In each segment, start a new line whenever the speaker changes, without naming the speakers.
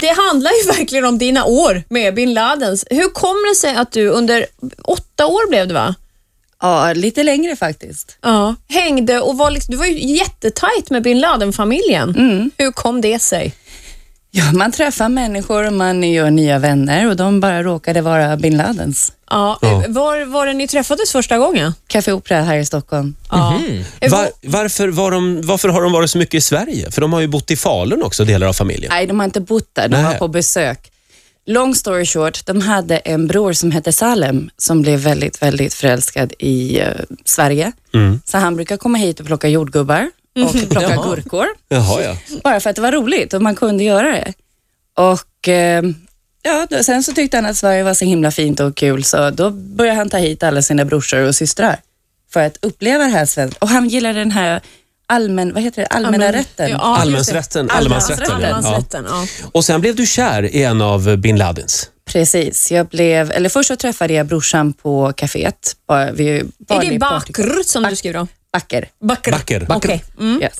Det handlar ju verkligen om dina år med bin Ladens. Hur kommer det sig att du under åtta år blev det va?
Ja, lite längre faktiskt.
Ja. Hängde och var liksom, du var ju jättetajt med bin Laden-familjen. Hur kom det sig?
Ja, man träffar människor och man gör nya vänner och de bara råkade vara bin Ladens.
Ja. eh,
Ja.
Var var det ni träffades första gången?
Café Opera här i Stockholm.
Ja. Eh,
Mhm. Var, varför, var de, varför har de varit så mycket i Sverige? För de har ju bott i Falun också, delar av familjen.
Nej, de har inte bott där, de
Nej.
var på besök. Long story short, de hade en bror som hette Salem som blev väldigt, väldigt förälskad i eh, Sverige. Så han brukar komma hit och plocka jordgubbar och plocka
Jaha.
gurkor.
Jaha, ja.
Bara för att det var roligt och man kunde göra det. Och eh, ja, då, sen så tyckte han att Sverige var så himla fint och kul så då började han ta hit alla sina brorsor och systrar för att uppleva det här svenskt. Och han gillade den här allmän, vad heter det, allmänna
Allmän- Ja,
rätten.
just det.
Allemansrätten, allemansrätten, ja.
Allemansrätten, ja.
Och sen blev du kär i en av bin Ladins.
Precis, jag blev, eller först så träffade jag brorsan på kaféet. Bara, vi,
Är
bara
det
i
bakr som du skriver om?
Backer.
Bakr.
Backer.
Okej. Mm.
Yes.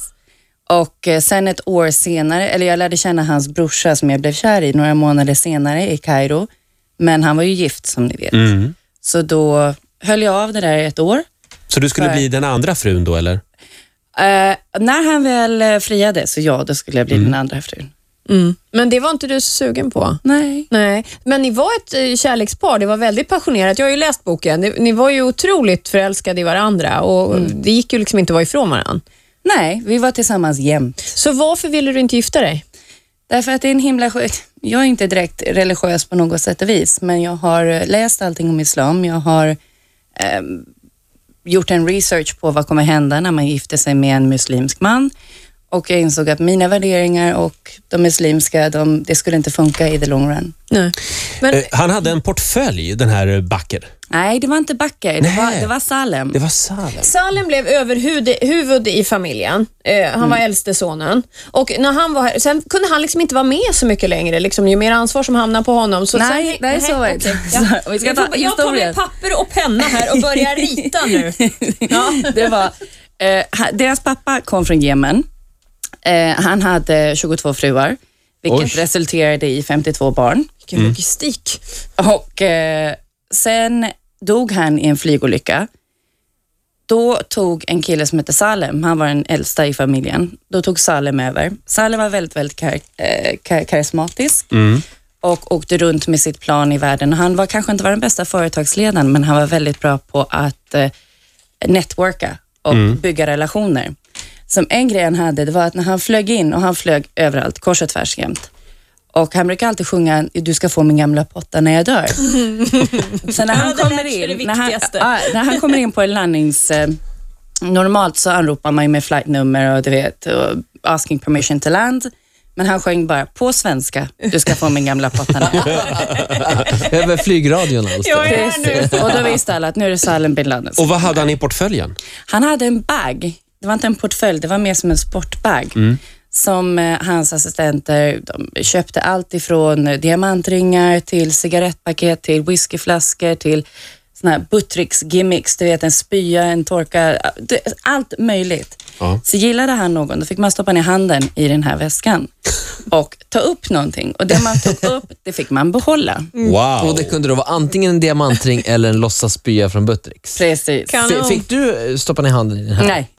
Och eh, sen ett år senare, eller jag lärde känna hans brorsa som jag blev kär i några månader senare i Kairo. Men han var ju gift som ni vet. Så då höll jag av det där i ett år.
Så du skulle
För-
bli den andra frun då, eller?
Eh, när han väl eh, friade, så ja, då skulle jag bli den andra frun.
Mm. Men det var inte du så sugen på?
Nej.
Nej, men ni var ett eh, kärlekspar. Det var väldigt passionerat. Jag har ju läst boken. Ni, ni var ju otroligt förälskade i varandra och
Mm.
det gick ju liksom inte att vara ifrån varandra.
Nej, vi var tillsammans jämt.
Så varför ville du inte gifta dig?
Därför att det är en himla skö- Jag är inte direkt religiös på något sätt och vis, men jag har eh, läst allting om islam. Jag har ehm, gjort en research på vad kommer hända när man gifter sig med en muslimsk man och jag insåg att mina värderingar och de muslimska, de, det skulle inte funka i the long run.
Nej. Men,
Eh, han hade en portfölj, den här Backer.
Nej, det var inte Backer, det, var,
Nej.
det var Salem.
Det var Salem.
Salem blev överhuvud huvud i familjen. Eh, han
Mm.
var äldste sonen. Och när han var här, sen kunde han liksom inte vara med så mycket längre, liksom, ju mer ansvar som hamnar på honom. Så
Nej,
sen,
nej, så var det inte.
okej, ja.
Så, vi ska
Jag
ta
får- jag tar med
historien.
papper och penna här och börjar rita nu. Ja.
det var, eh, ha- deras pappa kom från Jemen. Eh, han hade 22 fruar, vilket
Oj.
resulterade i 52 barn.
Vilken logistik.
Och eh, sen dog han i en flygolycka. Då tog en kille som hette Salem, han var den äldsta i familjen, då tog Salem över. Salem var väldigt, väldigt kar- eh, kar- karismatisk och åkte runt med sitt plan i världen. Och Han var kanske inte var den bästa företagsledaren, men han var väldigt bra på att eh, networka och bygga relationer. Som en grej han hade, det var att när han flög in, och han flög överallt, kors och tvärs jämt, och han brukar alltid sjunga Du ska få min gamla potta när jag dör. Så när han,
Ja, det
kommer
lät ju det
in, när, han,
viktigaste.
ja, när han kommer in på en landnings... Eh, normalt så anropar man ju med flightnummer och du vet, och asking permission to land. Men han sjöng bara på svenska, du ska få min gamla potta när jag dör.
Över flygradion alltså.
Jag är här nu.
Och då visste alla att nu är det Salem bin Ladens.
Och vad hade han i portföljen?
Han hade en bag. Det var inte en portfölj, det var mer som en sportbag. Som eh, hans assistenter de köpte allt ifrån eh, diamantringar till cigarettpaket, till whiskyflaskor, till såna här Buttricks gimmicks, du vet en spya, en torka, eh, det- allt möjligt.
Ja.
Så gillade han någon, då fick man stoppa ner handen i den här väskan och ta upp någonting. Och det man tog upp, det fick man behålla.
Wow.
Mm. Och det kunde då vara antingen en diamantring eller en låtsasspya från Buttericks.
Precis.
Kan-
F- Fick du eh, stoppa ner handen i den här?
Nej,